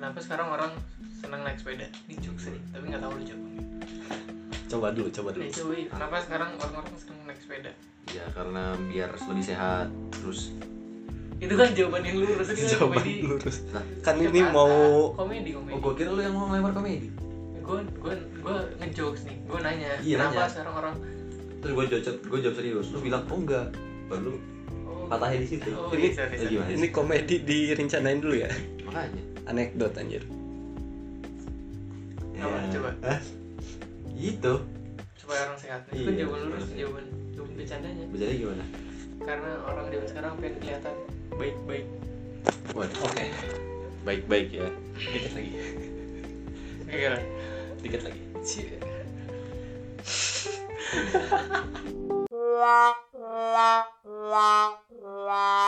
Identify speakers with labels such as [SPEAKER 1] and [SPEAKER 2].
[SPEAKER 1] Nah, sekarang orang senang naik sepeda ini jokes nih tapi nggak tahu lucu apa enggak.
[SPEAKER 2] Iya,
[SPEAKER 3] Coba dulu, coba dulu.
[SPEAKER 1] Eh, cuy, kenapa sekarang orang-orang senang naik sepeda
[SPEAKER 2] ya karena biar lebih sehat terus
[SPEAKER 1] itu kan jawaban yang lurus itu kan
[SPEAKER 3] Coba
[SPEAKER 1] komedi
[SPEAKER 3] lurus.
[SPEAKER 2] Nah,
[SPEAKER 3] Kan ini
[SPEAKER 1] Jakarta.
[SPEAKER 3] mau
[SPEAKER 1] komedi komedi
[SPEAKER 2] oh gue kira lu yang mau ngelempar komedi
[SPEAKER 1] gue gue gue ngejokes nih gue nanya
[SPEAKER 2] Iya,
[SPEAKER 1] kenapa
[SPEAKER 2] nanya.
[SPEAKER 1] sekarang orang
[SPEAKER 2] terus gue jawab gue jawab serius lu bilang oh enggak baru lu
[SPEAKER 1] oh,
[SPEAKER 2] patahin di situ
[SPEAKER 1] oh,
[SPEAKER 3] Ini-
[SPEAKER 1] bisa,
[SPEAKER 2] Lu
[SPEAKER 1] bisa.
[SPEAKER 2] gimana
[SPEAKER 3] ini
[SPEAKER 2] sih
[SPEAKER 3] komedi direncanain dulu ya.
[SPEAKER 2] makanya
[SPEAKER 3] Anekdot anjir.
[SPEAKER 1] Apa, coba.
[SPEAKER 2] Ya. Hah? gitu
[SPEAKER 1] supaya orang sehat itu
[SPEAKER 2] Iya,
[SPEAKER 1] kan jawaban lurus
[SPEAKER 2] bener.
[SPEAKER 1] jawaban jawaban bercandanya
[SPEAKER 2] jadi gimana
[SPEAKER 1] karena orang zaman sekarang pengen kelihatan baik baik
[SPEAKER 2] waduh
[SPEAKER 3] Oke.
[SPEAKER 2] baik-baik ya
[SPEAKER 3] Dikit lagi.
[SPEAKER 2] Iya,
[SPEAKER 1] gara
[SPEAKER 2] kan?
[SPEAKER 3] Dikit lagi.
[SPEAKER 4] la la la la